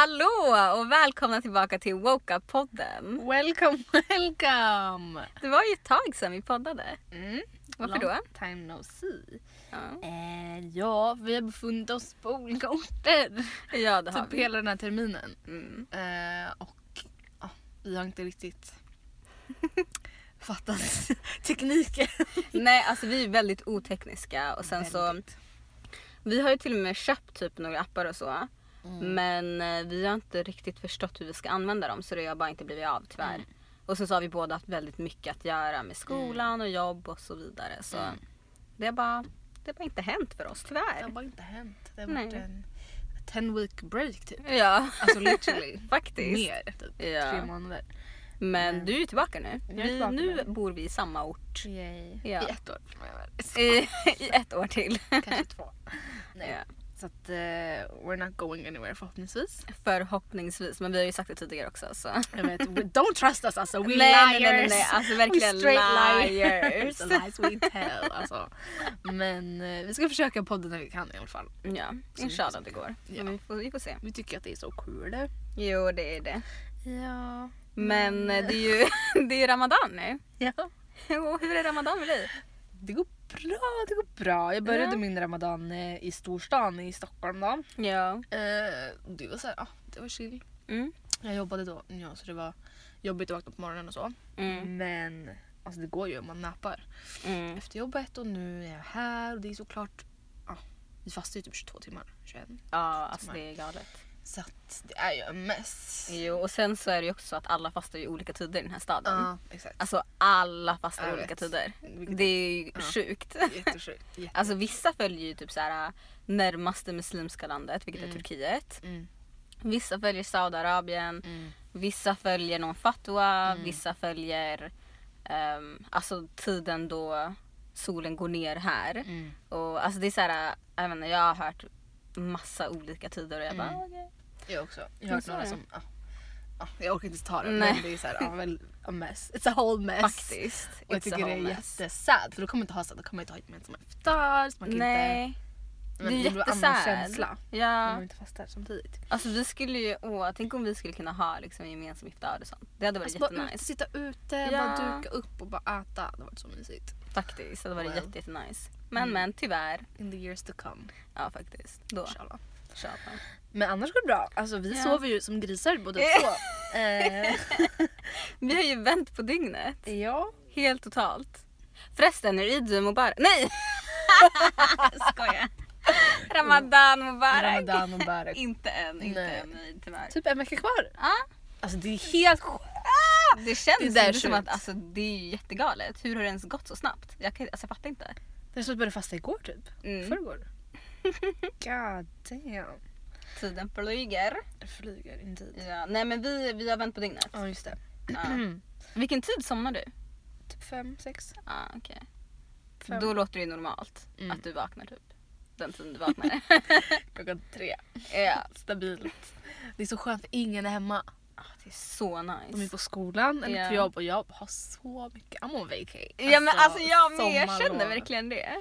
Hallå och välkomna tillbaka till Woke Up-podden. Welcome, welcome! Det var ju ett tag sedan vi poddade. Mm. Varför då? Long time no see. Ja, Eh, ja, vi har befunnit oss på olika orter. ja det har Typ vi. hela den här terminen. Mm. Eh, och ja, vi har inte riktigt fattat tekniken. Nej, alltså vi är väldigt otekniska och sen så... Väldigt. Vi har ju till och med köpt typ några appar och så. Mm. Men eh, vi har inte riktigt förstått hur vi ska använda dem så det har bara inte blivit av tyvärr. Mm. Och sen så har vi båda haft väldigt mycket att göra med skolan och jobb och så vidare. Så Mm. det har bara, det har bara inte hänt för oss Det har tyvärr. bara inte hänt. Det har Nej. varit en 10 week break typ. Ja, Alltså literally. faktiskt. Mer typ. Ja. Tre månader. Men Men- du är ju tillbaka nu. Jag är vi, tillbaka nu nu. bor vi i samma ort Yay. Ja. I ett år. i, i ett år till. Kanske två. Nej. Ja. Så att eh, we're not going anywhere förhoppningsvis. Förhoppningsvis, men vi har ju sagt det tidigare också. Så. Jag vet, we don't trust us alltså, we nej, nej, liars! nej, nej, alltså verkligen We straight liars. The lies we tell alltså. Men eh, vi ska försöka podda när vi kan i alla fall. ja, Så inshallah det går. Ja. Men vi, får, vi får se. Vi tycker att det är så kul. Jo, det är det. Ja. Men eh, det är ju det är ju Ramadan nu. ja. Och hur är Ramadan för dig? Det går bra, det går bra. Jag började Ja. min ramadan eh, i storstan i Stockholm då. Ja. Eh, det var så här, ja, det var chill. Mm. Jag jobbade då, ja, så det var jobbigt att vakna på morgonen och så. Mm. Men alltså, det går ju om man nappar. Mm. efter jobbet och nu är jag här och det är såklart, ja, vi fastar ju typ 22 timmar, 21. Ja, alltså det är galet. Så att det är ju en mess. Jo, och sen så är det ju också så att alla fastar ju olika tider i den här staden. Ja, exakt. Alltså alla fastar Jag olika vet. tider. Vilket Det är ju Ja. sjukt. är jättesjukt. Jätte... Alltså vissa följer ju typ så här närmaste muslimska landet, vilket är Mm. Turkiet. Mm, Vissa följer Saudiarabien, mm, vissa följer någon fatwa, Mm. vissa följer ehm, alltså tiden då solen går ner här. mm. Och alltså det är så här, jag, menar, jag har hört massa olika tider och jag bara Mm. okej. Jag också. Jag Men har hört så några är det. som, ja, ja, jag orkar inte ens ta det Nej. men det är såhär, ja, väl, a mess. It's a whole mess. Faktiskt. Och jag It's a tycker det är whole mess. jättesad för då kommer jag inte ha så här, då kommer jag inte ha gemensamma iftar. så man kan Nej. inte... det är blir en jättesad. annan känsla. Mm. Ja. Om man inte fastar samtidigt. Alltså vi skulle ju, åh, tänk om vi skulle kunna ha liksom gemensam iftar och sånt. Det hade varit Alltså bara jättenice. ute, sitta ute, Ja. bara duka upp och bara äta. Det har varit så mysigt. Faktiskt, det hade varit Well. jätte, jättenice. Men Mm. men tyvärr. In the years to come. Ja faktiskt. Då. Inshallah. Köpa. Men annars går det bra. Alltså vi Ja. sover ju som grisar båda två. eh, Vi har ju vänt på dygnet. ja. Helt totalt. Förresten, är det Eid Mubarak? Nej! Skoja. Ramadan Mubarak. Ramadan och Barak. Inte än, inte Nej. än Eid tyvärr. Typ en vecka kvar. Ja, Alltså det är helt sjukt. det känns Det där är inte som sjukt. att alltså, det är ju jättegalet. Hur har det ens gått så snabbt? Jag, kan, alltså, jag fattar inte. Det är som att jag började fasta igår typ. Mm. Förrgår. God damn. Tiden flyger. Det flyger indeed. Ja, nej men vi, vi har vänt på dygnet. Ja just det. Mm. Ja. Vilken tid somnar du? typ fem, sex. Ah, okej. Fem. Då låter det ju normalt Mm. att du vaknar typ den tiden du vaknar. Klockan tre. ja. Stabilt. Det är så skönt för ingen är hemma. Ah, Det är så De är nice. på skolan eller Ja. på jobb och jag har så mycket. I'm on vacay. Ja men alltså jag med, jag känner sommarlov. verkligen det.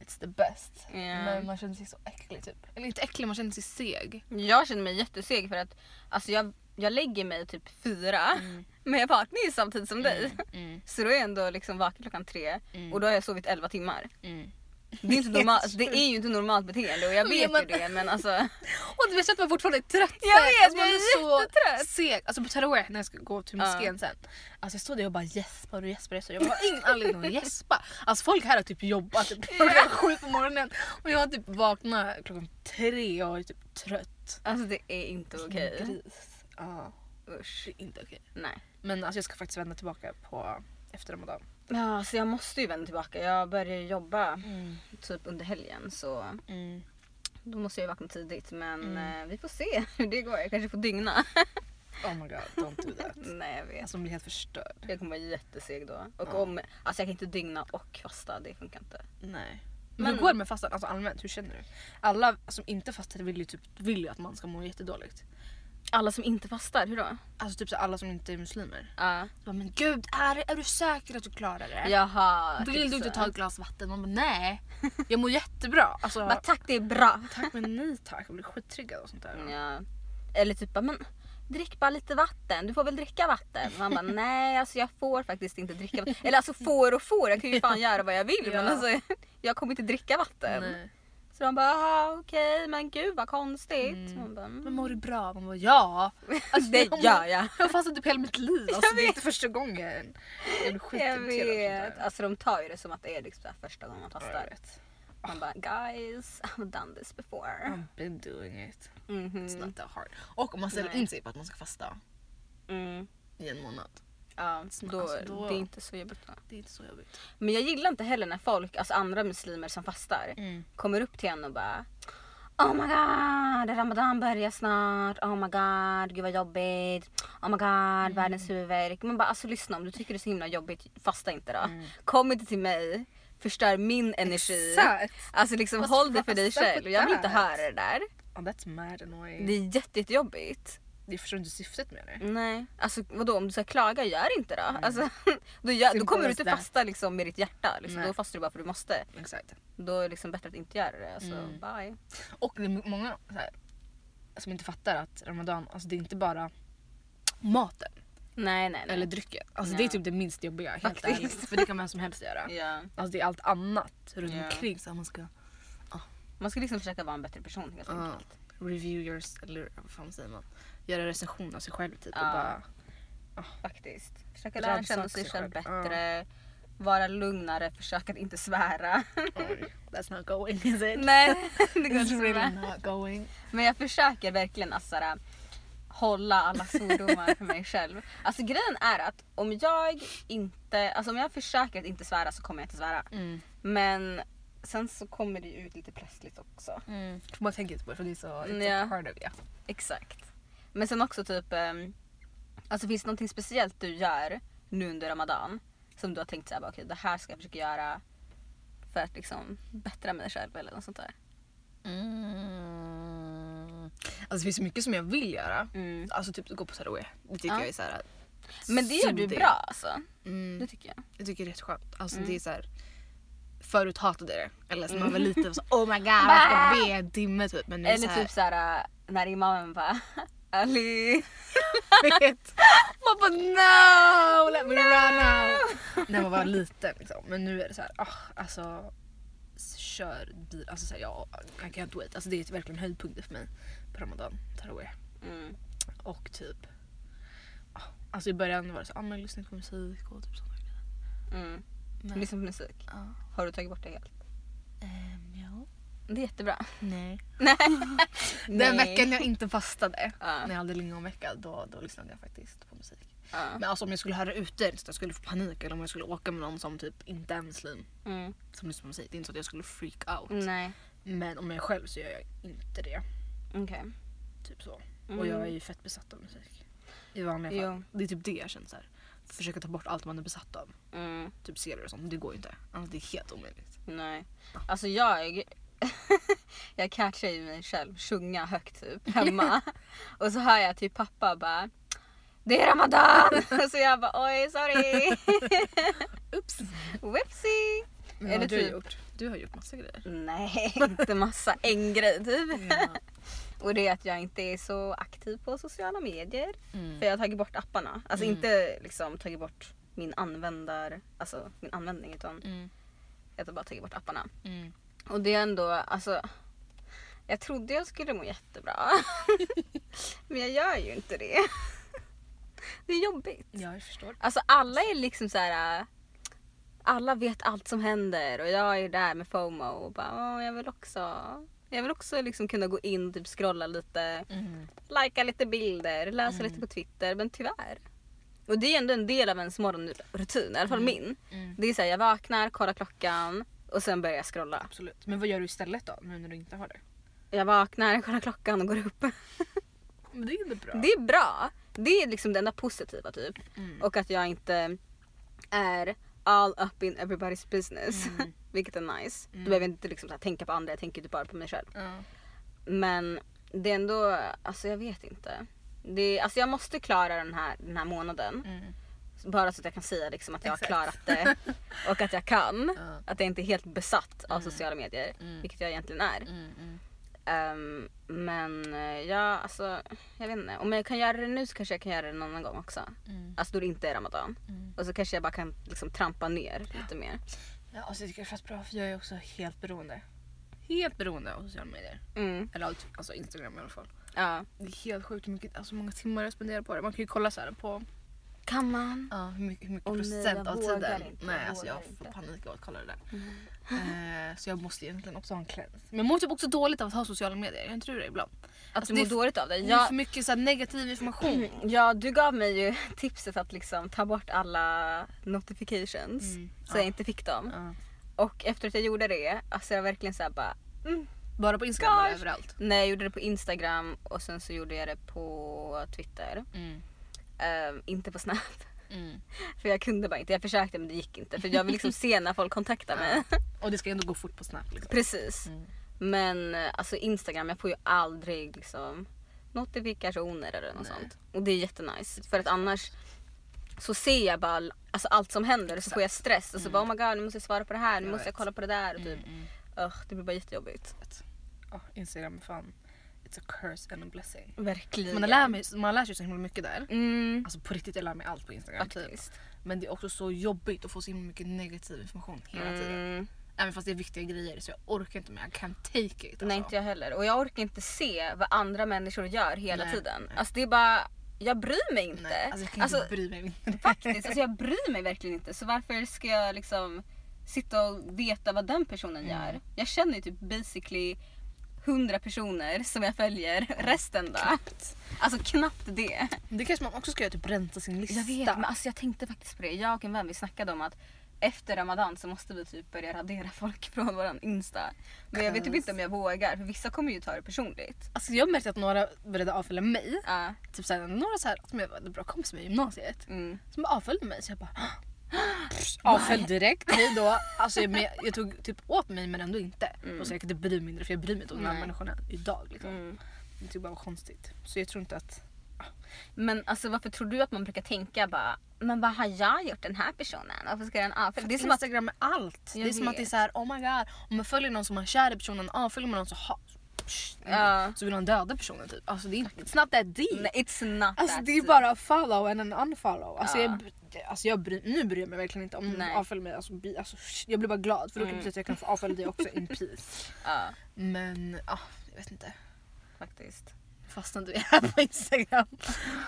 It's the best. Ja. Men man känner sig så äcklig typ. Eller inte äcklig, man känner sig seg. Jag känner mig jätteseg för att alltså jag, jag lägger mig typ fyra men jag vaknar ju samtidigt som dig. Mm. Så då är jag ändå liksom vaken klockan tre Mm. och då har jag sovit elva timmar. Mm. Det är, inte normalt, alltså, det är ju inte normalt beteende och jag Men vet man- ju det men alltså. Och du vet att man fortfarande är trött. Jag vet, alltså, man jag är så jättetrött. Seg. Alltså på Taraweh när jag ska gå till Ja. moskén sen. Alltså jag stod där och bara gäspade och gäspade. och gäspade. Jag har ingen anledning att gäspa. Alltså folk här har typ jobbat typ klockan sju på morgonen och jag har typ vaknat klockan tre och är typ trött. Alltså det är inte okej. Gris. Ja, Usch. det är inte okej. Nej. Men alltså jag ska faktiskt vända tillbaka på efter Ramadan. Ja, så jag måste ju vända tillbaka. Jag börjar ju jobba typ under helgen så Mm. då måste jag ju vakna tidigt men Mm. eh, vi får se hur det går. Jag kanske får dygna. Oh my god, don't do that. Nej jag vet. Alltså hon blir helt förstörd. Jag kommer vara jätteseg då. Och Ja. om, alltså jag kan inte dygna och fasta, det funkar inte. Nej. Men, Men- hur går det med fastan alltså allmänt? Hur känner du? Alla som inte fastar vill ju, typ, vill ju att man ska må jättedåligt. Alla som inte fastar, hur då? Alltså typ så alla som inte är muslimer. Ja. Så bara, men gud, är, är du säker att du klarar det? Jaha. Vill du typ inte så. ta ett glas vatten? Man bara nej, jag mår jättebra. Alltså, Bara tack det är bra. tack men nej tack, jag blir skittriggad och sånt där. Mm. Ja. Eller typ bara men drick bara lite vatten, du får väl dricka vatten. Man bara, nej alltså jag får faktiskt inte dricka vatten. Eller alltså får och får, jag kan ju fan göra vad jag vill men Ja. alltså jag kommer inte dricka vatten. Nej. Så de bara, "Aha, okej men gud vad konstigt. Mm. Man bara, mm. Men mår du bra? Man bara ja. Alltså, det jag mår- gör jag. Jag har fastnat typ hela mitt liv. Alltså, Jag det är inte första gången. Jag blir Jag skitirriterad. av vet. sånt där. Alltså de tar ju det som att det är liksom så här första gången man Ja, jag testar. vet. Man Alltså. bara, guys I've done this before. I've been doing it. Mhm. It's not that hard. Och om man ställer Nej. in sig på att man ska fasta Mm. i en månad. Ja, Snart, då, alltså, då- det är inte så jobbigt. Det är inte så jobbigt. Men jag gillar inte heller när folk, alltså andra muslimer som fastar, Mm. kommer upp till en och bara Oh my god, ramadan börjar snart. Oh my god, gud vad jobbigt. Oh my god, Mm. världens huvudvärk. Man bara alltså lyssna om du tycker det är så himla jobbigt, fasta inte då. Mm. Kom inte till mig, förstör min energi. Exakt! Alltså liksom Vad håll det för dig fasta på själv. Jag vill inte det. höra det där. Oh, that's mad annoying. Det är jätte- jättejobbigt. Jag förstår inte syftet med det. Nej, alltså vadå om du ska klaga, gör inte då. Alltså, då, gör, då Mm. Simple kommer du as inte that. fasta liksom, med ditt hjärta. Liksom. Nej. Då fastar du bara för du måste. Exakt. Då är det liksom bättre att inte göra det. Alltså, Mm. bye. Och det är många så här, som inte fattar att Ramadan, alltså det är inte bara maten Nej, nej, nej. eller drycken. Alltså Ja. det är typ det minst jobbiga helt Faktiskt. ärligt. För det kan vem som helst göra. ja. Alltså det är allt annat runt Ja. omkring. Så här, man ska Man ska liksom försöka vara en bättre person helt Ja. enkelt. review yours, eller vad fan säger man? Göra recension av sig själv typ. Ja. Och bara, Faktiskt. Försöka lära känna Rannsaka sig sig själv själv. bättre. Vara lugnare, försöka att inte svära. Oj, that's not going is it? nej, det går It's inte så bra. really not going. Men jag försöker verkligen alltså, såhär, hålla alla svordomar för mig själv. Alltså grejen är att om jag inte, alltså om jag försöker att inte svära så kommer jag inte svära. Mm. Men sen så kommer det ju ut lite plötsligt också. För man tänker inte på det för det är så it's mm. Ja. a part of you. Exakt. Men sen också typ, ehm, alltså finns det någonting speciellt du gör nu under Ramadan? Som du har tänkt såhär, bara, okej det här ska jag försöka göra för att liksom bättra mig själv eller något sånt där. Alltså det finns så mycket som jag vill göra. Mm. Alltså typ gå på taraweh. Det tycker Ja. jag är så här. Men det gör du suddigt. bra alltså. Det Mm. tycker jag. Jag tycker det är rätt skönt. Alltså Mm. det är så här. Förut hatade jag det. Eller så när man var liten var så oh my god jag ska be en timme typ. Men nu är det Eller så här, typ såhär när imamen bara Ali. vet. Man bara no! Let me run out! När man var liten liksom. Men nu är det så här, ah, alltså kör bil. Alltså så här, jag I can't wait. Alltså det är verkligen höjdpunkter för mig på ramadan, taraweh. Mm. Och typ, ah, alltså i början var det så här, ah, men lyssna på musik och typ sådana grejer. Mm. Men, Lyssna på musik. ja, Har du tagit bort det helt? ehm, ja. Det är jättebra. Nej. Nej. Den veckan jag inte fastade, Ja. när jag hade lingonvecka, då, då lyssnade jag faktiskt på musik. Ja. Men alltså om jag skulle höra ute så jag skulle få panik eller om jag skulle åka med någon som typ inte är muslim Mm. som lyssnar på musik. Det är inte så att jag skulle freak out. Nej. Men om jag är själv så gör jag inte det. Okej. Typ så. Mm. Och jag är ju fett besatt av musik. I vanliga fall. Jo. Det är typ det jag känner så här. Försöka ta bort allt man är besatt av. Mm. Typ serier och sånt. Det går ju inte. Alltså det är helt omöjligt. Nej. Alltså jag... jag catchar ju mig själv sjunga högt typ hemma. Och så hör jag typ pappa bara Det är Ramadan! så jag bara oj sorry. Oops! Whoopsie. Men Eller vad har du typ- gjort? Du har gjort massa grejer. Nej inte massa. En grej typ. Ja. Och det är att jag inte är så aktiv på sociala medier. Mm. För jag har tagit bort apparna. Alltså Mm. inte liksom tagit bort min användar, alltså min användning utan Mm. jag har bara tagit bort apparna. Mm. Och det är ändå, alltså jag trodde jag skulle må jättebra. Men jag gör ju inte det. Det är jobbigt. Ja, jag förstår. Alltså alla är liksom så här. äh, Alla vet allt som händer och jag är där med FOMO och bara Åh, jag vill också. Jag vill också liksom kunna gå in och typ scrolla lite Mm. likea lite bilder, läsa lite på Twitter, men tyvärr. Och det är ändå en del av ens morgonrutin, i alla fall min. Mm. Det är såhär, jag vaknar, kollar klockan och sen börjar jag scrolla. Absolut. Men vad gör du istället då? Nu när du inte har det? Jag vaknar, kollar klockan och går upp. Men det är ju bra. Det är bra. Det är liksom det enda positiva typ. Mm. Och att jag inte är all up in everybody's business. Mm. Vilket är nice. Då behöver jag inte liksom så här, tänka på andra, jag tänker typ bara på mig själv. Ja. Men det är ändå, alltså jag vet inte. Det är, alltså jag måste klara den här, den här månaden. Mm. Bara så att jag kan säga liksom att jag Exakt. har klarat det och att jag kan. Ja. Att jag inte är helt besatt av sociala medier, Mm. vilket jag egentligen är. Mm. Mm. Ehm, men eh, ja, alltså jag vet inte. Om jag kan göra det nu så kanske jag kan göra det en annan gång också. Mm. Alltså då det inte är ramadan. Mm. Och så kanske jag bara kan liksom trampa ner lite mer. Ja, alltså, jag tycker det känns bra för jag är också helt beroende. Helt beroende av sociala medier. Mm, Eller av typ- alltså Instagram i alla fall. ja. Det är helt sjukt hur mycket, alltså, många timmar jag spenderar på det. Man kan ju kolla så här på Kan man? Ja, hur mycket, hur mycket Åh, nej, procent jag av vågar tiden? inte, jag nej, alltså jag vågar får inte. Mm. panik av att kolla det där. Eh, så jag måste egentligen också ha en cleanse. Men jag mår typ också dåligt av att ha sociala medier. Jag tror det ibland. Alltså, Att du det mår är f- dåligt av det? Det är Jag, för mycket så här, negativ information. Mm, Ja, du gav mig ju tipset att liksom ta bort alla notifications Mm, så jag inte fick dem. Ja. Och efter att jag gjorde det, alltså jag verkligen såhär bara mm. Bara på Instagram eller Gosh. överallt. Nej, jag gjorde det på Instagram och sen så gjorde jag det på Twitter. Mm. Ehm, inte på Snap. Mm. För jag kunde bara inte. Jag försökte men det gick inte för jag vill liksom se när folk kontaktar mig. Och det ska ändå gå fort på Snap. Liksom. Precis. Mm. Men eh, alltså Instagram, jag får ju aldrig liksom notifikationer eller något Nej. sånt. Och det är jättenice. För att annars så ser jag bara all- alltså allt som händer och så får jag stress. Och så bara oh my god nu måste jag svara på det här, nu Mm. Jag måste jag vet. kolla på det där. Och typ. Mm. Ugh, det blir bara jättejobbigt. Ja, Instagram är fan, it's a curse and a blessing. Verkligen. Man lär, mig, man lär sig så himla mycket där. Mm, Alltså på riktigt, jag lär mig allt på Instagram. Typ. faktiskt. Men det är också så jobbigt att få så himla mycket negativ information hela tiden. Alltså. Mm. Även fast det är viktiga grejer så jag orkar inte mer. I can't take it. Alltså. Nej inte jag heller. Och jag orkar inte se vad andra människor gör hela Nej, tiden. nej. Alltså det är bara, jag bryr mig inte. Nej, alltså jag kan inte bry mig. Faktiskt, alltså jag bryr mig verkligen inte. Så varför ska jag liksom sitta och veta vad den personen Mm. gör? Jag känner ju typ basically 100 personer som jag följer, resten då? Alltså knappt det. Det kanske man också ska göra, typ rensa sin lista. Jag vet, men alltså jag tänkte faktiskt på det. Jag och en vän vi snackade om att efter ramadan så måste vi typ börja radera folk från våran insta. Men jag vet typ inte om jag vågar för vissa kommer ju ta det personligt. Alltså jag märkte att några började avfölja mig. Ja, Typ såhär, några så här, som jag var bra kompis med i gymnasiet mm. som bara avföljde mig. Så jag bara avfölj direkt, hejdå. Alltså, men jag, jag tog typ åt mig men ändå inte. Mm. Och så jag kunde bry mig mindre för jag bryr mig inte om de här Nej. människorna idag. Liksom. Mm. Jag tyckte bara var konstigt. Så jag tror inte att... Men alltså varför tror du att man brukar tänka bara men vad har jag gjort den här personen? Varför ska den avfölja? Det är som att Instagram är allt. Jag det är som att det är vet. så här, oh my god. Om man följer någon som man är kär i personen, avföljer man någon så, ha, Ja. så vill man döda personen typ. Alltså det är inte, it's not that deep. Nej, it's not Alltså that typ. det är deep. bara follow and an unfollow. Alltså, Ja. jag, bry- alltså jag bry, nu bryr jag mig verkligen inte om någon Nej. avföljer mig. Alltså, bi, alltså, sh- jag blir bara glad för då kan det Mm. betyda att jag kan få avfölja dig också in peace. Ja, Men ah, jag vet inte. faktiskt. Fastnade vi här på Instagram.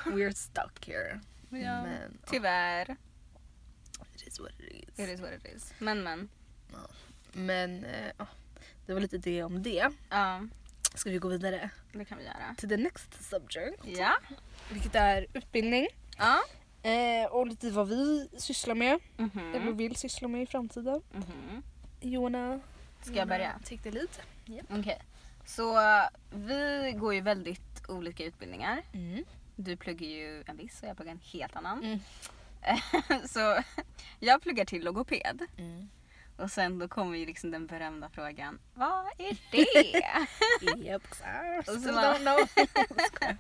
We're stuck here. Ja. Men ah, Tyvärr. it is what it It is. is what it is. Men men. Men eh, ah, det var lite det om det. Ja, Ska vi gå vidare det kan vi göra. till the next subject. Ja. Vilket är utbildning. Ja. Eh, och lite vad vi sysslar med. Eller Mhm. vill syssla med i framtiden. Mhm. Jona. Ska jag börja? Take the lead. Okej. Så eh, vi går ju väldigt olika utbildningar. Mm. Du pluggar ju en viss och jag pluggar en helt annan. Mm. Så jag pluggar till logoped. mm. Och sen då kommer ju liksom den berömda frågan. Vad är det? Yep. så Still bara- don't know.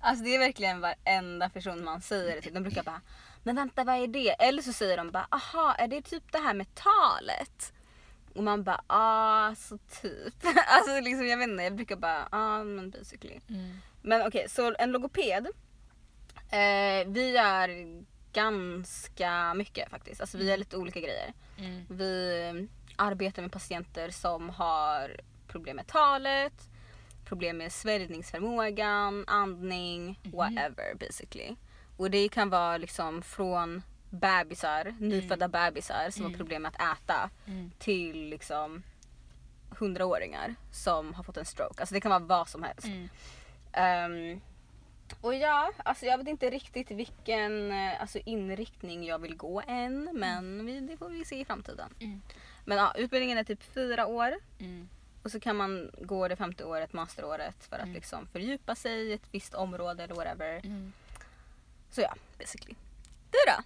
Alltså det är verkligen varenda person man säger det till. De brukar bara “men vänta vad är det?” eller så säger de bara “aha är det typ det här med talet?” Och man bara “ah så typ”. Alltså liksom jag vet inte, jag brukar bara “ah men basically”. Mm, Men okej, så en logoped. Eh, vi gör ganska mycket faktiskt. Alltså vi gör lite olika grejer. mm, Vi mm, arbetar med patienter som har problem med talet, problem med sväljningsförmågan, andning, Mhm. whatever basically. Och det kan vara liksom från bebisar, nyfödda bebisar som har problem med att äta Mm. till liksom hundraåringar som har fått en stroke. Alltså det kan vara vad som helst. Mm. Ehm, och ja, alltså jag vet inte riktigt vilken eh, alltså inriktning jag vill gå än men vi, det får vi se i framtiden. Mm. Men ja, utbildningen är typ fyra år Mm. och så kan man gå det femte året, masteråret för att liksom fördjupa sig i ett visst område eller whatever. Mm. Så ja, basically. Du då?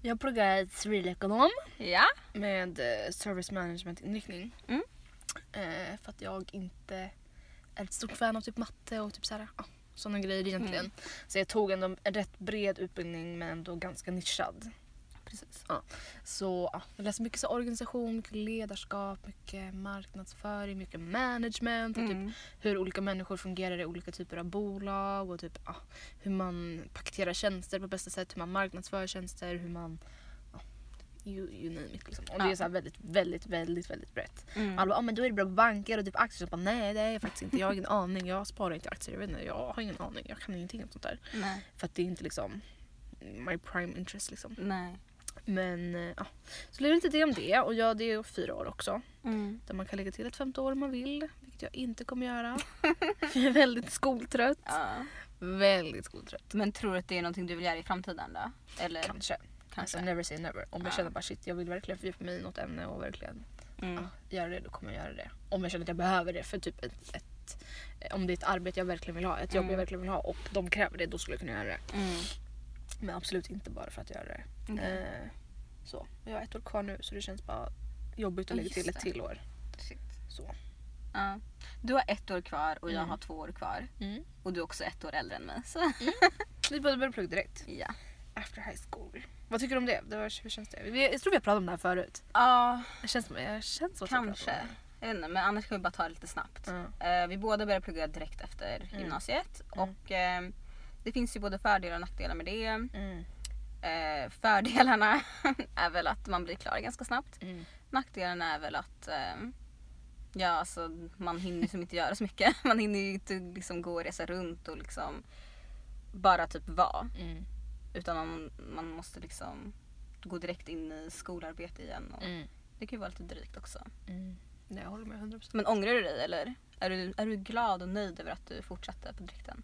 Jag pluggar civilekonom Ja? med eh, service management inriktning. Mm. Eh, för att jag inte är ett stort fan av typ matte och typ sådana ah, såna Mm. grejer egentligen. Så jag tog ändå en rätt bred utbildning men ändå ganska nischad. precis. Ja. Så ja, jag läser mycket så organisation, mycket ledarskap, mycket marknadsföring, mycket management. Mm, Och typ hur olika människor fungerar i olika typer av bolag och typ ja, hur man paketerar tjänster på bästa sätt, hur man marknadsför tjänster, hur man... Ja, you, you name it liksom. Och det Ja. är så här väldigt, väldigt, väldigt, väldigt brett. Mm. Alla bara, ah, men då är det bra på banker och typ aktier. Så bara, nej det är jag faktiskt inte, jag har ingen aning. Jag sparar inte i aktier, jag vet inte, jag har ingen aning. Jag kan ingenting om sånt där. Nej. För att det är inte liksom my prime interest liksom. Nej. Men eh, ja, så det är lite det om det. Och ja, det är ju fyra år också. Mm. Där man kan lägga till ett femte år om man vill. Vilket jag inte kommer göra. För jag är väldigt skoltrött. Ja. Väldigt skoltrött. Men tror du att det är någonting du vill göra i framtiden då? Eller kanske? Kanske. Alltså never say never. Om jag Ja. känner bara shit, jag vill verkligen fördjupa mig i något ämne och verkligen Mm. ja, göra det, då kommer jag göra det. Om jag känner att jag behöver det för typ ett, ett eh, om det är ett arbete jag verkligen vill ha, ett jobb Mm. jag verkligen vill ha och de kräver det, då skulle jag kunna göra det. Mm. Men absolut inte bara för att göra det. Okej. Eh, så. Jag har ett år kvar nu så det känns bara jobbigt Ja, att lägga till just ett det. till år. Så. Ja. Du har ett år kvar och jag Mm. har två år kvar. Mm. Och du är också ett år äldre än mig. Så. Vi började börja plugga direkt. Ja. After high school. Vad tycker du om det? det var, hur känns det? Vi- Jag tror vi har pratat om det här förut. Ja, Det känns som, jag känns som att vi har pratat om det kanske. här. Jag vet inte, men annars kan vi bara ta det lite snabbt. Ja. Eh, vi båda började plugga direkt efter gymnasiet. Och eh, det finns ju både fördelar och nackdelar med det. Mm. Eh, fördelarna är väl att man blir klar ganska snabbt. Mm. Nackdelen är väl att eh, ja, alltså, man hinner som inte göra så mycket. Man hinner ju inte liksom gå och resa runt och liksom bara typ vara. Mm. Utan man, man måste liksom gå direkt in i skolarbete igen. Och Mm. Det kan ju vara lite drygt också. Mm. Nej, jag håller med 100%. Men ångrar du dig eller? Är du, är du glad och nöjd över att du fortsatte på direkten?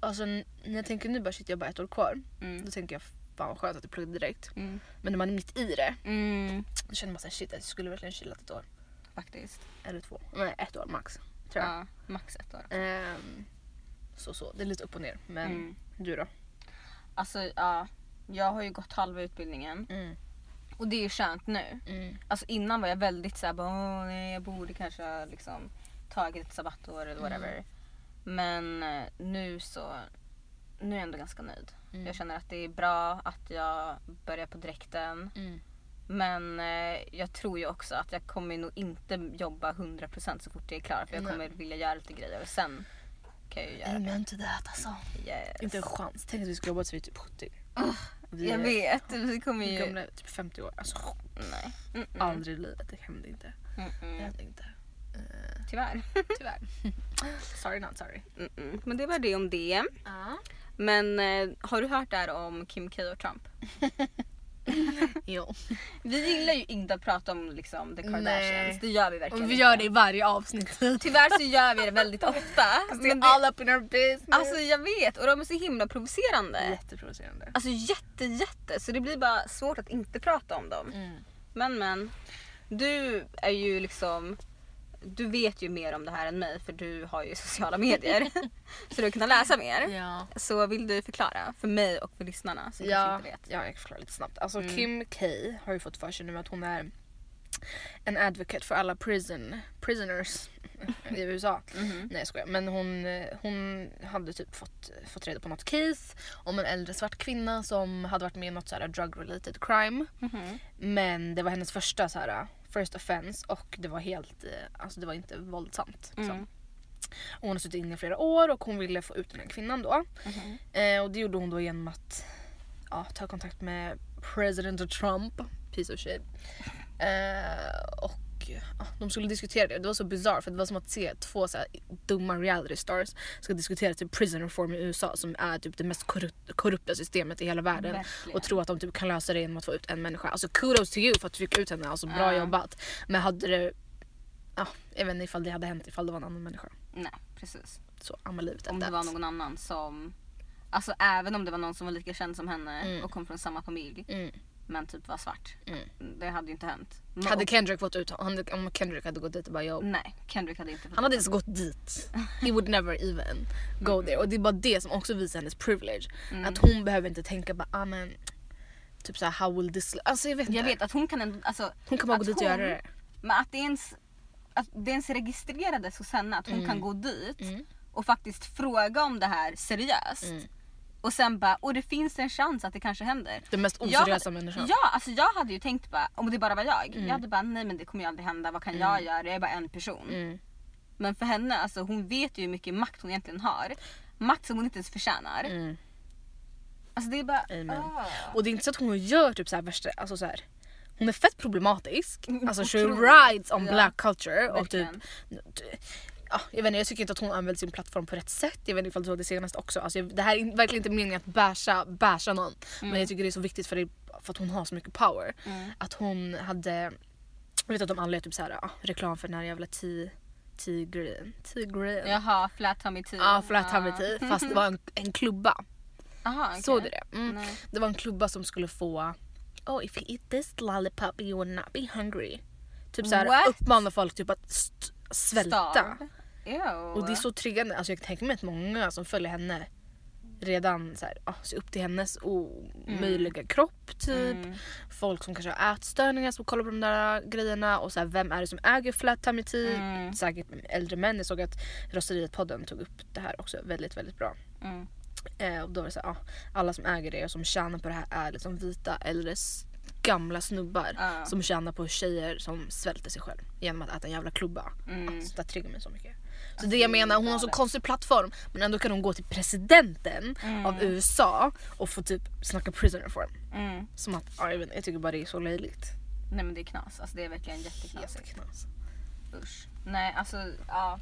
Alltså n- när jag tänker nu bara shit jag har bara ett år kvar. Mm. Då tänker jag fan vad skönt att jag pluggade direkt. Mm. Men när man är mitt i det Mm. då känner man såhär shit jag skulle verkligen chillat ett år. Faktiskt. Eller två. Nej ett år max. Tror jag. Ja, max ett år. Ehm, så så, det är lite upp och ner. Men Mm. du då? Alltså ja, jag har ju gått halva utbildningen Mm. och det är ju skönt nu. Alltså innan var jag väldigt såhär bara "Åh, nej jag borde kanske ha liksom tagit ett sabbatår eller whatever. Men eh, nu så, nu är jag ändå ganska nöjd. Mm. Jag känner att det är bra att jag börjar på direkten. mm. Men eh, jag tror ju också att jag kommer nog inte jobba 100% så fort jag är klar. För jag Nej. kommer vilja göra lite grejer och sen kan jag ju göra Amen till det alltså. det. Yes. Inte en chans. Tänk att vi ska jobba tills vi är typ 70. vi Jag vet, vi kommer är ju... gamla, typ 50 år. Alltså Nej. Mm -mm. aldrig i livet. Det händer inte. Mm Det -mm. händer inte. Eh, Tyvärr. tyvärr. sorry not sorry. Mm -mm. Men det var det om det. Ja. Men eh, har du hört det här om Kim K och Trump? Jo. Vi gillar ju inte att prata om liksom, the Kardashians. Nej. Det gör vi verkligen Och vi inte. gör det i varje avsnitt. Tyvärr så gör vi det väldigt ofta. Det men är det, all up in our business. alltså jag vet och de är så himla provocerande. Jätteprovocerande. Alltså jätte jätte så det blir bara svårt att inte prata om dem. Men men. Du är ju liksom du vet ju mer om det här än mig för du har ju sociala medier. så du har kunnat läsa mer. Ja. Så vill du förklara för mig och för lyssnarna som kanske Ja, inte vet. Mm. ja, jag kan förklara lite snabbt. Alltså Kim K har ju fått för sig nu att hon är en advocate för alla prison, prisoners i Mm. USA. Mm. Nej jag skojar. Men hon, eh, hon hade typ fått, fått reda på något case om en äldre svart kvinna som hade varit med i något så här drug related crime. Mm-hmm. Men det var hennes första så här, first offense och det var helt, eh, alltså det var inte våldsamt. Liksom. Mm. Och Hon har suttit inne i flera år och hon ville få ut den här kvinnan då. Mhm. Eh, och det gjorde hon då genom att ja, ta kontakt med president Trump, piece of shit. Eh, och ja, de skulle diskutera det. Det var så bizarrt för det var som att se två så här, dumma reality stars ska diskutera typ prison reform i USA som är typ det mest korrup- korrupta systemet i hela världen. Verkligen. Och tro att de typ kan lösa det genom att få ut en människa. Alltså kudos till you för att du fick ut henne, alltså bra Ja. jobbat. Men hade det, ja, jag vet inte ifall det hade hänt ifall det var en annan människa. Nej, precis. Så, amma livet Om det var någon annan som Alltså även om det var någon som var lika känd som henne och kom från samma familj Mm. men typ var svart. Mm. Det hade ju inte hänt. Men- Hade Kendrick fått ut han, om Kendrick hade gått dit och bara jag Nej, Kendrick hade inte fått Han hade ens gått dit. He would never even Mm. go there. Och det är bara det som också visar hennes privilege. Att hon behöver inte tänka bara ah, men, typ såhär how will this... Alltså jag vet inte. Jag vet att hon kan ändå... Alltså, Hon kan bara att gå dit och hon- göra det. Men att det ens, att det ens Mm. Mm. registrerades hos henne att hon kan gå dit och faktiskt fråga om det här seriöst. Och Och sen bara, och det finns en chans att det kanske händer. Den mest Jag hade- oseriösa Mm. människan. Ja, alltså jag hade ju tänkt bara, om det bara var jag. Jag hade bara, nej men det kommer ju aldrig hända, vad kan jag göra? Jag är bara en person. Mm. Men för henne, alltså hon vet ju hur mycket makt hon egentligen har. Makt som hon inte ens förtjänar. Mm. Alltså det är bara... Amen. ah. Och det är inte så att hon gör typ så här värsta, alltså så här. Hon är fett problematisk. Mm, Alltså she otroligt. rides on Ja. black culture. Och typ, Verkligen. ja, jag, vet inte, jag tycker inte att hon använder sin plattform på rätt sätt. Jag vet inte ifall du såg det senaste också. Alltså, jag, det här är in- verkligen inte meningen att basha, basha någon. Men jag tycker det är så viktigt för, det, för att hon har så mycket power. Mm. Att hon hade, jag vet att de anlade typ så här, ja, reklam för den här jävla ti- tigrin. Tigrin. Ja. Jaha, flat tummy tea. Ja, flat tummy tea, fast det var en, en klubba. Ah. Aha, okej. Såg du det? Mm. Nej. Det var en klubba som skulle få Oh if you eat this lollipop you will not be hungry. Typ What? såhär uppmana folk typ att st- svälta. Starve. Ew. Och det är så triggande. Alltså jag tänker mig att många som följer henne redan så här, ah, ser upp till hennes Mm. omöjliga kropp typ. Folk som kanske har ätstörningar som kollar på de där grejerna och så här, vem är det som äger flat tummy tea? Mm. Säkert äldre män. Jag såg att Rosteriet-podden tog upp det här också väldigt väldigt bra. Mm. Eh, och då var det så här, ah, alla som äger det och som tjänar på det här är liksom vita eller s- gamla snubbar Ja. som tjänar på tjejer som svälter sig själv genom att äta en jävla klubba. Mm. Ah, så det triggar mig så mycket. Så Alltså, det det är jag menar, hon har så galet. konstig plattform men ändå kan hon gå till presidenten Mm. av USA och få typ snacka prison reform. Mm. Som att, ja, jag, vet, inte, jag tycker bara det är så löjligt. Nej men det är knas. Alltså det är verkligen Helt jätteknasigt. knas. Usch. Nej alltså ja.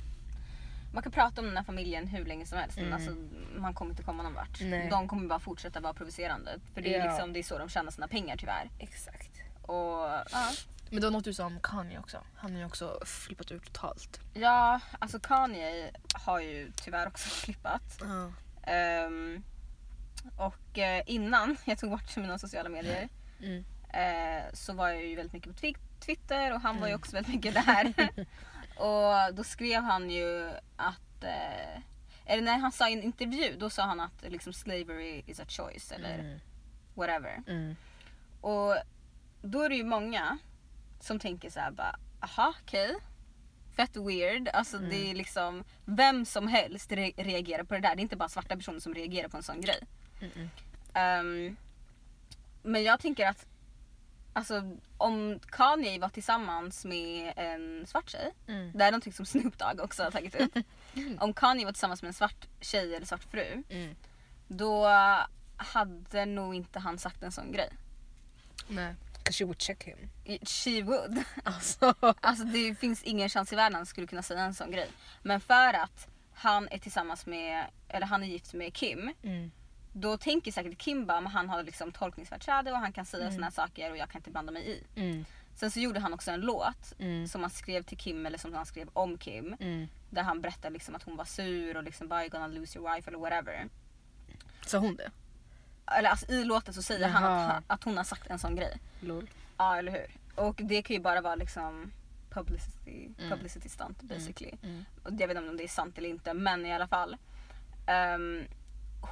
Man kan prata om den här familjen hur länge som helst men alltså, man kommer inte komma någon vart. Mm. Nej. De kommer bara fortsätta vara provocerande. För det är, Ja. liksom, det är så de tjänar sina pengar tyvärr. Exakt. Och ja. Men det var något du sa om Kanye också. Han har ju också flippat ut totalt. ja, alltså Kanye har ju tyvärr också flippat. Ja. Ehm, och eh, innan jag tog bort mina sociala medier Mm. eh, så var jag ju väldigt mycket på Twi- Twitter och han var ju också väldigt mycket där. och då skrev han ju att, eh, eller när han sa i en intervju då sa han att liksom slavery is a choice eller Mm. whatever. Mm. Och då är det ju många som tänker så här bara, aha okej. Fett weird. Alltså det är liksom vem som helst re- reagerar på det där. Det är inte bara svarta personer som reagerar på en sån grej. Mm-mm. Ehm, men jag tänker att alltså, om Kanye var tillsammans med en svart tjej. Mm. Det här är någonting som Snoop Dogg också har tagit upp. om Kanye var tillsammans med en svart tjej eller svart fru. Mm. Då hade nog inte han sagt en sån grej. Nej. Cause you would check him. She would. Alltså. Alltså det finns ingen chans i världen han skulle kunna säga en sån grej. Men för att han är tillsammans med, eller han är gift med Kim. Mm. Då tänker säkert Kim bara, men han har liksom tolkningsföreträde och han kan säga såna här saker och jag kan inte blanda mig i. Mm. Sen så gjorde han också en låt Mm. som han skrev till Kim eller som han skrev om Kim. Mm. Där han berättar liksom att hon var sur och liksom bara you're gonna lose your wife eller whatever. Sa hon det? Eller alltså i låten så säger han Jaha. att, att hon har sagt en sån grej. Lol. Ja eller hur. Och det kan ju bara vara liksom publicity, Mm. publicity stunt basically. Mm. Och jag vet inte om det är sant eller inte men i alla fall. Ehm,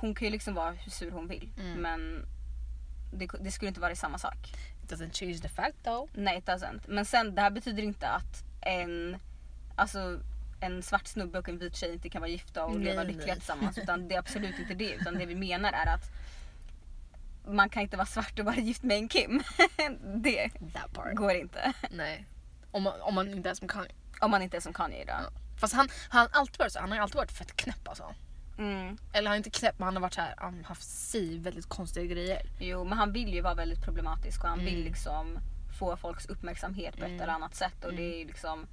hon kan ju liksom vara hur sur hon vill Mm. men det, det skulle inte vara samma sak. It doesn't change the fact though. Nej it doesn't. Men sen det här betyder inte att en, alltså, en svart snubbe och en vit tjej inte kan vara gifta och Nej, leva nej. lyckliga tillsammans. Utan det är absolut inte det. Utan det vi menar är att man kan inte vara svart och vara gift med en Kim. det That part. går inte. Nej. Om man, om man inte ens kan. Om man inte är som Kanye idag. Fast han, han, har alltid varit så, han har ju alltid varit fett knäpp alltså. Mm. Eller han är inte knäpp men han har varit så här, han har haft si väldigt konstiga grejer. Jo, men han vill ju vara väldigt problematisk och han vill Mm. liksom få folks uppmärksamhet på ett eller annat sätt och det är ju liksom,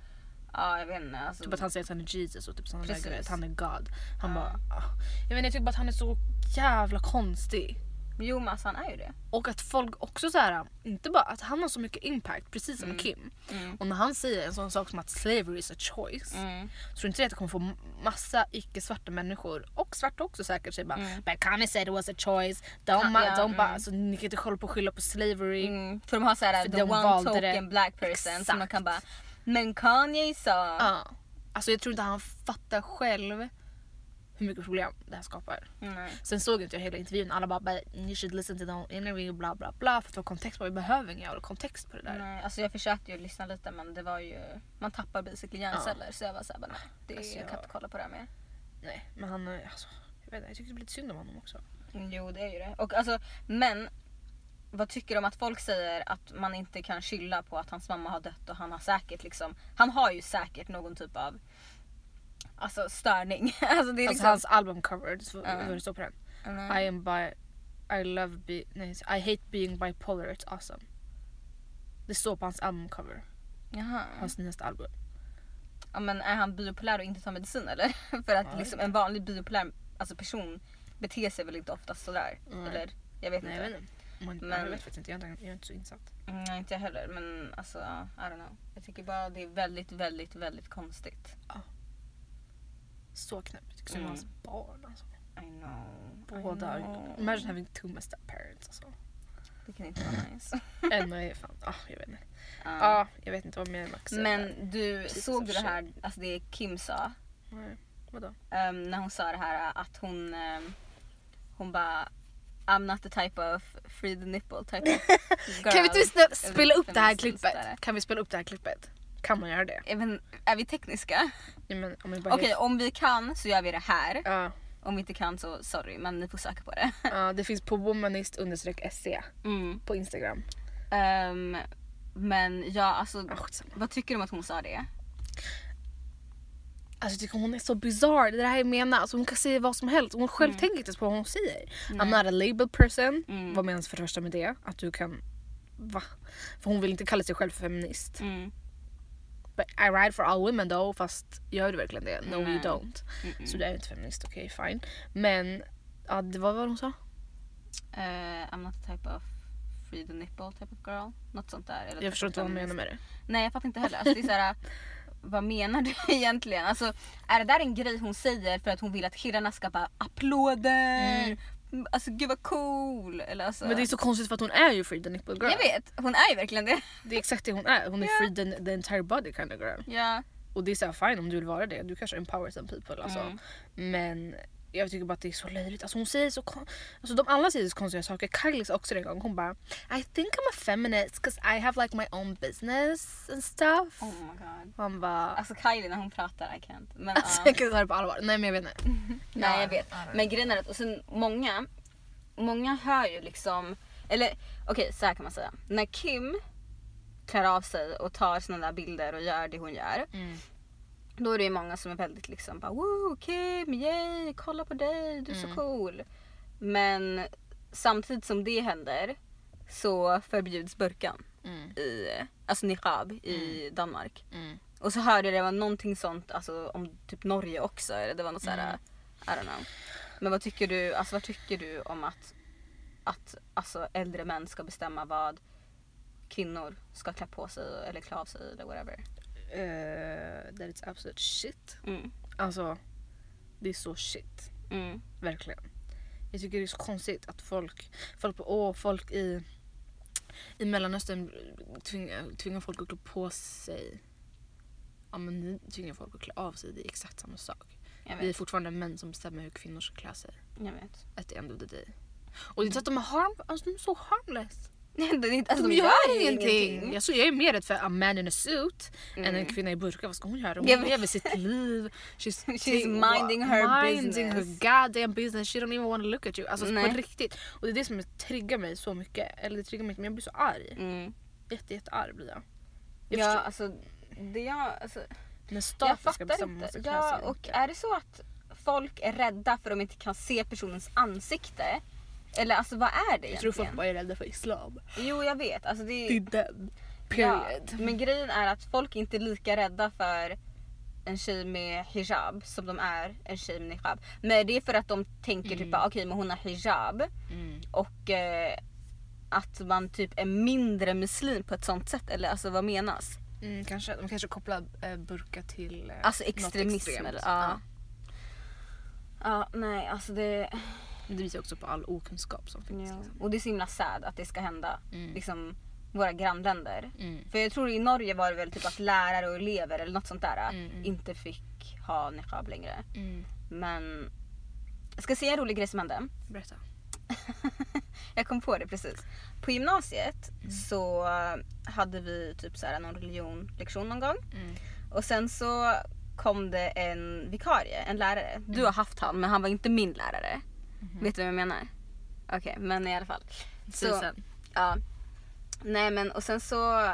ja jag vet inte. Alltså, Mm. Typ att han säger att han är Jesus och typ sådana där Precis. grejer. Att han är God. Han Ja. bara... ah. Jag menar jag tycker bara att han är så jävla konstig. Jo men alltså han är ju det. Och att folk också så här, inte bara att han har så mycket impact precis som Kim. Mm. Och när han säger en sån sak som att slavery is a choice. Mm. Tror inte det att det kommer få massa icke-svarta människor och svarta också säkert sig bara But Kanye said it was a choice. De, Ja, ma- Mm. ja, de bara, mm. alltså, ni kan inte hålla på och skylla på slavery. Mm. För de har såhär För the de one valde token det. black person som man Exakt. kan bara, men Kanye sa. Ja. Alltså jag tror inte han fattar själv hur mycket problem det här skapar. Nej. Sen såg inte jag hela intervjun. Alla bara, "But you should listen to the whole interview, bla bla bla. För att få kontext på det. Vi behöver ingen jävla kontext på det där. Nej, alltså jag försökte ju lyssna lite men det var ju, man tappar basically hjärnceller så jag var såhär, bara, nej det, Alltså, jag kan jag- inte kolla på det här mer. Nej, men han, eh, alltså, jag vet inte, jag tyckte det blev lite synd om honom också. Jo det är ju det. Och alltså, men vad tycker du om att folk säger att man inte kan skylla på att hans mamma har dött och han har säkert liksom, han har ju säkert någon typ av alltså störning. alltså det är Alltså liksom, hans albumcover, det står- Ja. det står på den. Mm. I am bi... I love be... Nej, I hate being bipolar, it's awesome. Det står på hans albumcover, Jaha. hans nyaste album. Ja, men är han bipolär och inte tar medicin eller? För att Ja, liksom en vanlig bipolär alltså person beter sig väl inte oftast sådär? Nej. Eller? Mm. Jag vet Nej jag inte. vet inte. Man, Men- Jag vet faktiskt inte, jag är inte, jag är inte så insatt. Mm, Nej, inte jag heller. Men alltså, ja, I don't know. Jag tycker bara det är väldigt, väldigt, väldigt konstigt. Så knäppt. Tycker synd om Mm. hans barn alltså. I know. Båda. I know. Imagine having two messed up parents alltså. Det kan inte vara nice. En är fan, ah, jag vet inte. Ja. Ah, jag vet inte vad mer Max säger där. Men du, Piece såg of du det här, alltså det Kim sa? Nej, vadå? Ehm, när hon sa det här att hon, ehm, hon bara I'm not the type of free the nipple type of girl. Kan vi inte snälla spela upp det här feminist där. klippet? Kan vi spela upp det här klippet? Kan man göra det? Eh, men, är vi tekniska? Ja, men, om jag bara Okej, om vi kan så gör vi det här. Ja, Om vi inte kan så sorry, men ni får söka på det. ja, det finns på womanist se Mm. på Instagram. Ehm, men ja, alltså Ah, skitsamma. vad tycker du om att hon sa det? alltså, jag tycker hon är så bizarr. Det är det här jag menar. Alltså, hon kan säga vad som helst. Hon själv tänker inte ens på vad hon säger. I'm not a label person. Mm. Vad menas för det första med det? Att du kan... Va? För hon vill inte kalla sig själv för feminist. Mm. But I ride for all women though. Fast gör du verkligen det? No Nej. you don't. Mm-mm. Så du är inte feminist, okej fine. Men ja, det var vad hon sa. Eh, I'm not the type of free the nipple type of girl. Något sånt där. Eller typ Jag förstår inte vad hon menar med det. Nej jag fattar inte heller. Alltså, det är så här, vad menar du egentligen? Alltså, är det där en grej hon säger för att hon vill att killarna ska bara applåder? Alltså gud vad cool! Eller, alltså, Mm. Men det är så konstigt för att hon är ju free the nipple girl. Jag vet, hon är ju verkligen det. Det är exakt det hon är. Hon är Ja. free the, the entire body kind of girl. Ja. Och det är såhär fine om du vill vara det, du kanske empower some people alltså. Mm. Men jag tycker bara att det är så löjligt. Alltså hon säger så kon- alltså de alla säger så konstiga saker. Kylie sa också det en gång, hon bara I think I'm a feminist 'cause I have like my own business and stuff. Oh my god. Man bara Alltså Kylie när hon pratar, I can't. Men, alltså ja. jag kan ta det på allvar. Nej men jag vet inte. Nej Ja, jag vet. I don't know. Men grejen är att och sen många, många hör ju liksom, eller okej så här kan man säga. När Kim klär av sig och tar sina där bilder och gör det hon gör. Mm. Då är det ju många som är väldigt liksom bara wow Kim, yay, kolla på dig, du är Mm. så cool. Men samtidigt som det händer så förbjuds burkan Mm. i, alltså niqab i Danmark. Mm. Och så hörde jag det var någonting sånt alltså, om typ Norge också. Eller det var något såhär, Mm. I don't know. Men vad tycker du, alltså, vad tycker du om att, att alltså, äldre män ska bestämma vad kvinnor ska klä på sig eller klä av sig eller whatever? Eh, that is absolute shit. Mm. Alltså det är så shit. Mm. Verkligen. Jag tycker det är så konstigt att folk, folk, på, åh, folk i, i Mellanöstern tvingar, tvingar folk att klä på sig. Ja men ni tvingar folk att klä av sig, det är exakt samma sak. Jag Vi är vet. fortfarande män som bestämmer hur kvinnor ska klä sig. Jag vet. At the end of the day. Och det är inte att de är, harm, alltså, de är så harmless. Nej, det är inte- de, alltså, gör, ingenting. Jag, så, jag är mer rädd för a man in a suit än en kvinna i burka. Vad ska hon göra? Mm. Hon Jag vet. lever sitt liv. She's, She's minding her minding business. her goddamn business. She don't even want to look at you. Alltså Nej. på riktigt. Och det är det som triggar mig så mycket. Eller det triggar mig inte men jag blir så arg. Mm. Jätte, jätte arg blir jag. Jag Ja, förstår- alltså, det jag, alltså, När jag staten ska fattar bestämma vad man inte. ska klä Ja, sig och är det så att folk är rädda för att de inte kan se personens ansikte? Eller alltså vad är det Jag tror folk egentligen? bara är rädda för islam. Jo jag vet. Alltså, det, Det är den. ja, Period. men grejen är att folk är inte lika rädda för en tjej med hijab som de är en tjej med niqab. Men det är för att de tänker typ bara, okej men hon har hijab Mm. och eh, att man typ är mindre muslim på ett sånt sätt. Eller alltså vad menas? Mm, kanske, de kanske kopplar eh, burka till eh, Alltså något extremism. extremt. Eller, Ja. ja. ja nej alltså det... Men det visar också på all okunskap som finns. Ja. Liksom. Och det är så himla sad att det ska hända Mm. liksom våra grannländer. Mm. För jag tror i Norge var det väl typ att lärare och elever eller något sånt där Mm, mm. inte fick ha niqab längre. Mm. Men jag ska säga en rolig grej som hände. Berätta. Jag kom på det precis. På gymnasiet så hade vi typ så här någon religionlektion någon gång. Mm. Och sen så kom det Mhm. Mm. en vikarie, en lärare. Du har haft han men han var inte min lärare. Vet du vad jag menar? Okej, men i alla fall. Säg Så- sen. Ja. Nej men och sen så,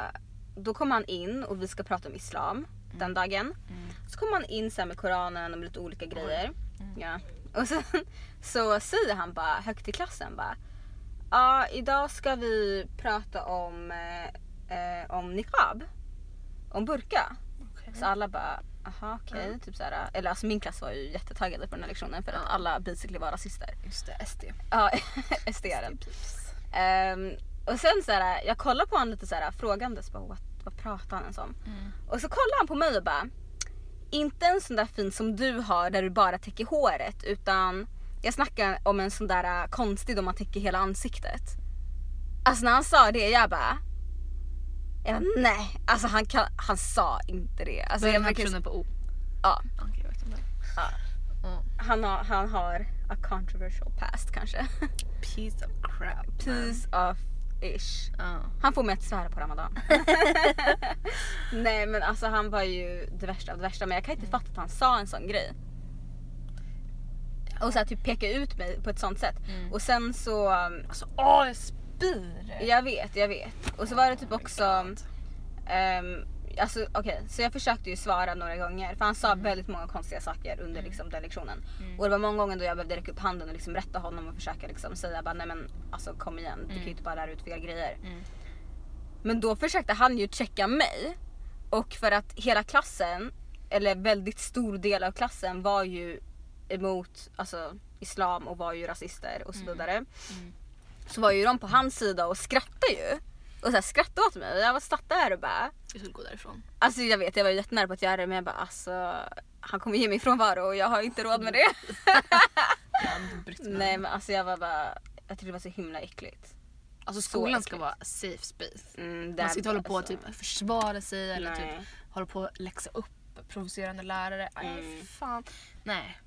då kom han in och vi ska prata om islam den dagen. Mm. Så kom han in sen med koranen och med lite olika grejer. Ja. Och sen så säger han bara högt i klassen bara. Ja idag ska vi prata om, eh, eh, om niqab. Om burka. Mm. Så alla bara aha okej. Typ såhär, eller alltså min klass var ju jättetaggade på den här lektionen för att alla basically var rasister. Just det, SD. Ja, SDR. Typ. Ehm, och sen så här, jag kollar på honom lite så här frågandes, bara, what, vad pratar han ens om? Mm. Och så kollar han på mig och bara, inte en sån där fin som du har där du bara täcker håret utan jag snackar om en sån där äh, konstig då man täcker hela ansiktet. Alltså när han sa det, jag bara, jag bara nej, alltså han, kan, han sa inte det. Alltså, Vad är jag den här märker- personen på O? ja, Okej, jag vet inte. ja. Ja. Han, har, han har a controversial past kanske. Piece of crap. man. Piece of ish. Ja. Han får mig att svära på ramadan. Nej men alltså han var ju det värsta av det värsta men jag kan inte fatta att han sa en sån grej. Och så här, typ peka ut mig på ett sånt sätt. Och sen så, um, Alltså åh jag spyr! Oh jag vet, jag vet. Och så var det typ också, ehm, alltså okej så jag försökte ju svara några gånger för han sa väldigt många konstiga saker under liksom, den lektionen. Och det var många gånger då jag behövde räcka upp handen och liksom rätta honom och försöka liksom, säga bara nej men alltså kom igen du kan ju inte bara lära ut fel grejer. Men då försökte han ju checka mig. Och för att hela klassen, eller väldigt stor del av klassen var ju emot alltså, islam och var ju rasister och så vidare. Så var ju de på hans sida och skrattade ju. Och så här, skrattade åt mig. Jag var satt där och bara... Vi skulle gå därifrån. Alltså jag vet, jag var jättenära på att göra det men jag bara alltså... Han kommer ge mig frånvaro och jag har inte råd med det. Nej men alltså jag var bara... Jag tyckte det var så himla äckligt. Alltså Så skolan ska äckligt. vara safe space. Mm, där- Man ska inte hålla på att alltså. typ, försvara sig eller Nej. typ, hålla på att läxa upp provocerande lärare. Aj, Mm. fan. Nej.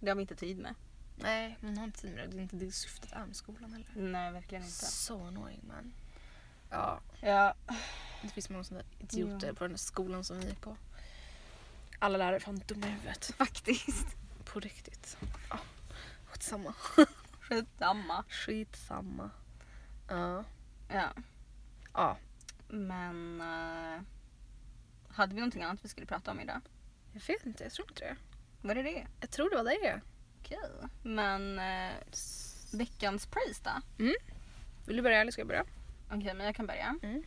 Det har vi inte tid med. Nej, man har inte tid med det. Det är inte det syftet är med skolan heller. Nej verkligen inte. So annoying man. Ja, Ja. det finns många sådana idioter på den här skolan som vi gick på. Alla lärare är fan dumma i huvudet. Faktiskt. På riktigt. Ja, skitsamma. Skitsamma. Skitsamma. Ja. Ja. Ja. Men... eh, hade vi någonting annat vi skulle prata om idag? Jag vet inte, jag tror inte det. Var det det? Jag tror det var det. Okej. Men eh, veckans praise då? Mm. Vill du börja eller ska jag börja? Okej, men jag kan börja. Mm.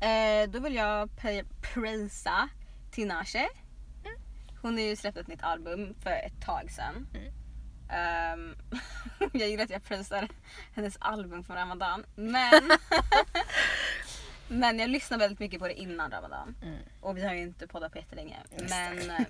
Eh, då vill jag pe- prisa Tinashe. Mm. Hon har ju släppt ett nytt album för ett tag sedan. Mm. Ehm, jag gillar att jag prisar hennes album från Ramadan. Men, men jag lyssnade väldigt mycket på det innan Ramadan. Mm. Och vi har ju inte poddat på jättelänge. Just Men, eh,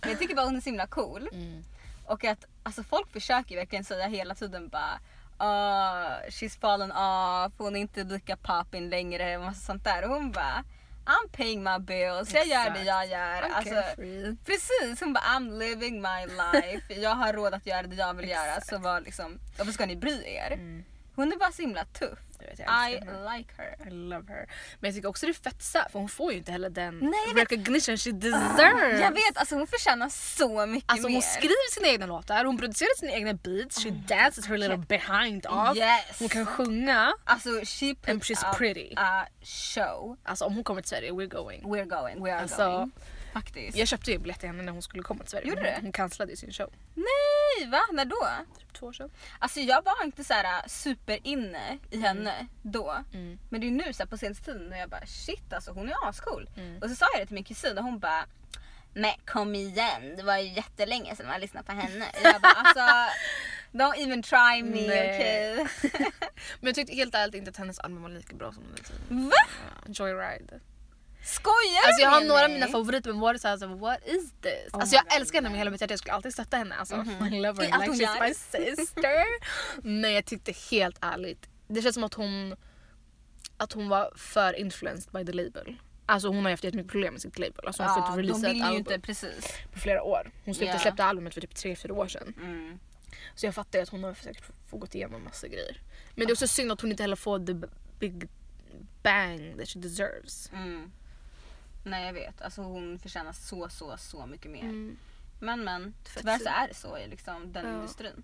men jag tycker bara hon är så himla cool. Mm. Och att alltså, folk försöker verkligen säga hela tiden bara "Ah, she's fallen off, hon är inte lika poppin längre och massa sånt där. Och hon bara I'm paying my bills, jag gör det jag gör. Alltså, free. precis, hon bara I'm living my life, jag har råd att göra det jag vill göra. Så var liksom, varför ska ni bry er? Hon är bara så himla tuff. Jag vet, Mm. jag I älskar henne. like her. I love her. Men jag tycker också det är fett sad, för hon får ju inte heller den Nej, jag vet. recognition she deserves. Jag vet, alltså hon förtjänar så mycket Mm. Alltså mer. Ah, hon skriver sina egna låtar, hon producerar sina egna beats, she dances her little behind off. Yes. Hon kan sjunga. Alltså she And puts she's up pretty. a show. Alltså om hon kommer till Sverige, we're going. We're going, we are Alltså, going. Faktiskt. Jag köpte ju biljetter till henne när hon skulle komma till Sverige. Gjorde men du? hon, hon cancellade ju sin show. Nej, va? När då? Typ två år sedan. Alltså jag var inte så här äh, superinne i henne då. Mm. Men det är nu så här, på senaste tiden när jag bara shit alltså hon är ascool. Mm. Och så sa jag det till min kusin och hon bara men kom igen, det var ju jättelänge sedan man lyssnade på henne. Jag bara alltså don't even try me Nej. okej. Men jag tyckte helt ärligt inte att hennes album var lika bra som den tiden. Va? Ja, Joyride. Skojar du Alltså jag har med några av mig? mina favoriter men var det såhär, så what is this? Oh alltså my jag God, älskar henne nej. med hela mitt hjärta, jag skulle alltid stötta henne. Alltså, I love I allt her like hon she's gör. my sister. men jag tyckte helt ärligt, det känns som att hon, att hon var för influenced by the label. Alltså hon har ju haft jättemycket problem med sitt label. Alltså hon får Ja, inte de releasa ett vill ju album inte precis. på flera år. Hon släppte, Ja. släppte albumet för typ 3-4 år sedan. Mm. Så jag fattar ju att hon har säkert fått gått igenom massa grejer. Men det är också synd att hon inte heller får the big bang that she deserves. Mm. Nej jag vet, alltså hon förtjänar så så så mycket Mm. mer. Men men, Fett tyvärr så synd. är det så i liksom, den typ- Ja. industrin.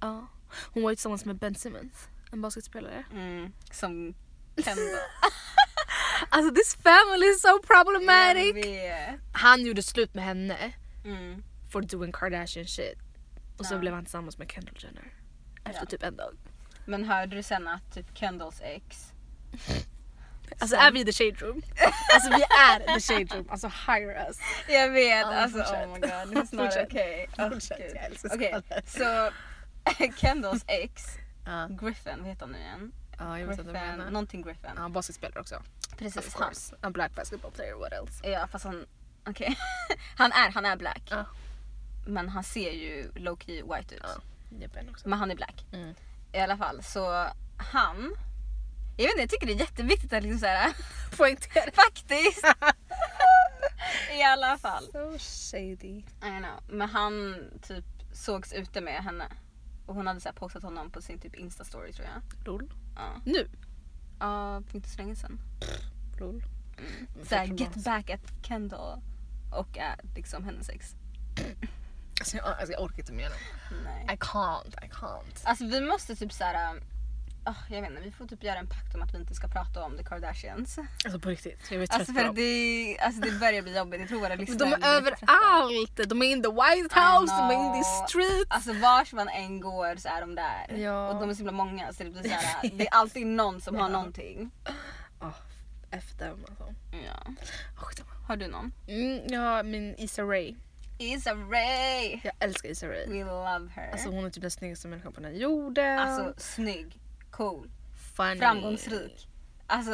Ja. Hon var ju tillsammans med Ben Simmons, en basketspelare. Mm, som tända. Alltså this family is so Jag problematic! vet. Han gjorde slut med henne Mm. for doing Kardashian shit. Och så Ja. blev han tillsammans med Kendall Jenner. Efter Ja. typ en dag. Men hörde du sen att typ Kendalls ex Alltså är vi i the shade room? Alltså vi är the shade room, alltså hire us. Jag vet, Ja, men alltså fortsätt. oh my god, it's not Fortsätt. okay. Åh, Fortsätt, gud. jag älskar Okej, skvaller. så Kendalls ex, Ja, Griffin, vad heter han nu igen? ja jag vet inte vad du Griffin, menar. någonting Griffin. Ja, basketspelare också. Precis, Of course. A black basketball player, what else? han. Ja fast han, okej. han, är, han är black. Ja. Men han ser ju low key white ut. Ja. Japp, en också. Men han är black. Mm. I alla fall så han, jag vet inte jag tycker det är jätteviktigt att liksom såhär, Poängtera. faktiskt. I alla fall. So shady. I know. Men han typ sågs ute med henne. Och hon hade så här postat honom på sin typ instastory tror jag. Lol. Ja, Nu. ja för inte så länge sedan. Lol. Mm, Såhär get back at Kendall och äh, liksom hennes ex. Alltså, jag, alltså, jag orkar inte med honom. Nej. I can't, I can't. Alltså vi måste typ såhär, ah, jag vet inte, vi får typ göra en pakt om att vi inte ska prata om the Kardashians. Alltså på riktigt, jag är trött Alltså för på att dem. det, alltså, det börjar bli jobbigt, jag tror våra lyssnare De blir är trötta. överallt! De är in the White I House, de är in the know. street. Alltså vars man än går så är de där. Ja. Och de är så himla många så det blir såhär, det är alltid någon som har Ja. någonting. Oh, F dem alltså. Ja. Oh, skitsamma. Har du någon? Mm, jag har min Issa Rae. Issa Rae! Jag älskar Issa Rae. We love her. Alltså Alltså, hon är typ den snyggaste människan på den här jorden. snygg, cool, Funny. framgångsrik. Alltså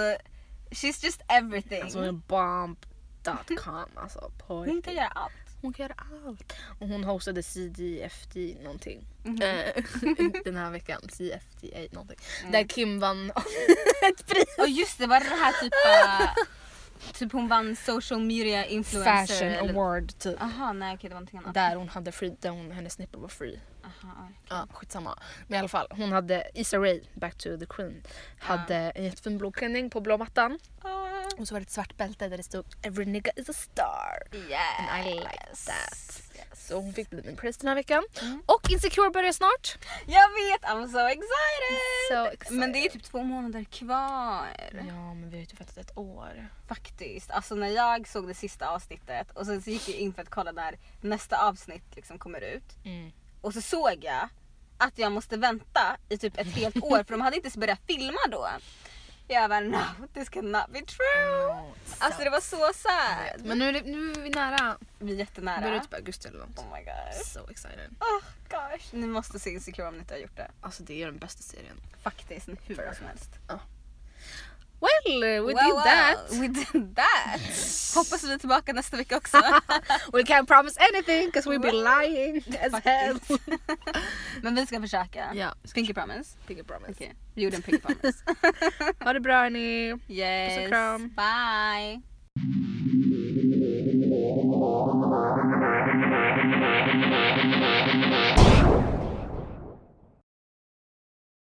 she's just everything. Alltså hon är bomb.com alltså. På hon kan riktigt. göra allt. Hon kan göra allt. Och hon hostade CDFD någonting. Mhm. Eh, den här veckan. CFDA någonting. Mm. Där Kim vann ett pris. Och just det, var det här typ äh, Typ hon vann social media influencer. Fashion eller- award typ. Aha, nej okej det var någonting annat. Där hon hade free, där hon, hennes nippor var free. Aha, Ja, skitsamma. Men i alla fall, hon hade, Issa Rae, Back to the Queen, hade en jättefin blå klänning på blå mattan. Ah, Och så var det ett svart bälte där det stod “Every nigga is a star”. yes. And I like that. Yes. Så hon fick bli min pris den här veckan. Mm. Och Insecure börjar snart. Jag vet, I'm so excited! So excited. Men det är typ två månader kvar. Ja, men vi har ju typ väntat ett år. Faktiskt. Alltså när jag såg det sista avsnittet och sen så gick jag in för att kolla när nästa avsnitt liksom kommer ut. Och så såg jag att jag måste vänta i typ ett helt år för de hade inte ens börjat filma då. Jag bara no, this cannot be true. No, Alltså det var så sad. Men nu är, det, nu är vi nära. Vi är Nu är det jättenära. typ augusti eller något. Oh my gosh. So excited. Oh gosh. Ni måste se Insecure om ni inte har gjort det. Alltså det är den bästa serien. Faktiskt hur bra som helst. Well, we Well, did well, that. We did that. Hoppas vi är tillbaka nästa vecka också. We can't promise anything because we'd be Well, lying as hell. faktiskt. Men vi ska försöka. Ja, Pinky promise. big promise. Okej, vi gjorde en pinky promise. Ha det bra hörni. yes. Puss och kram. Bye.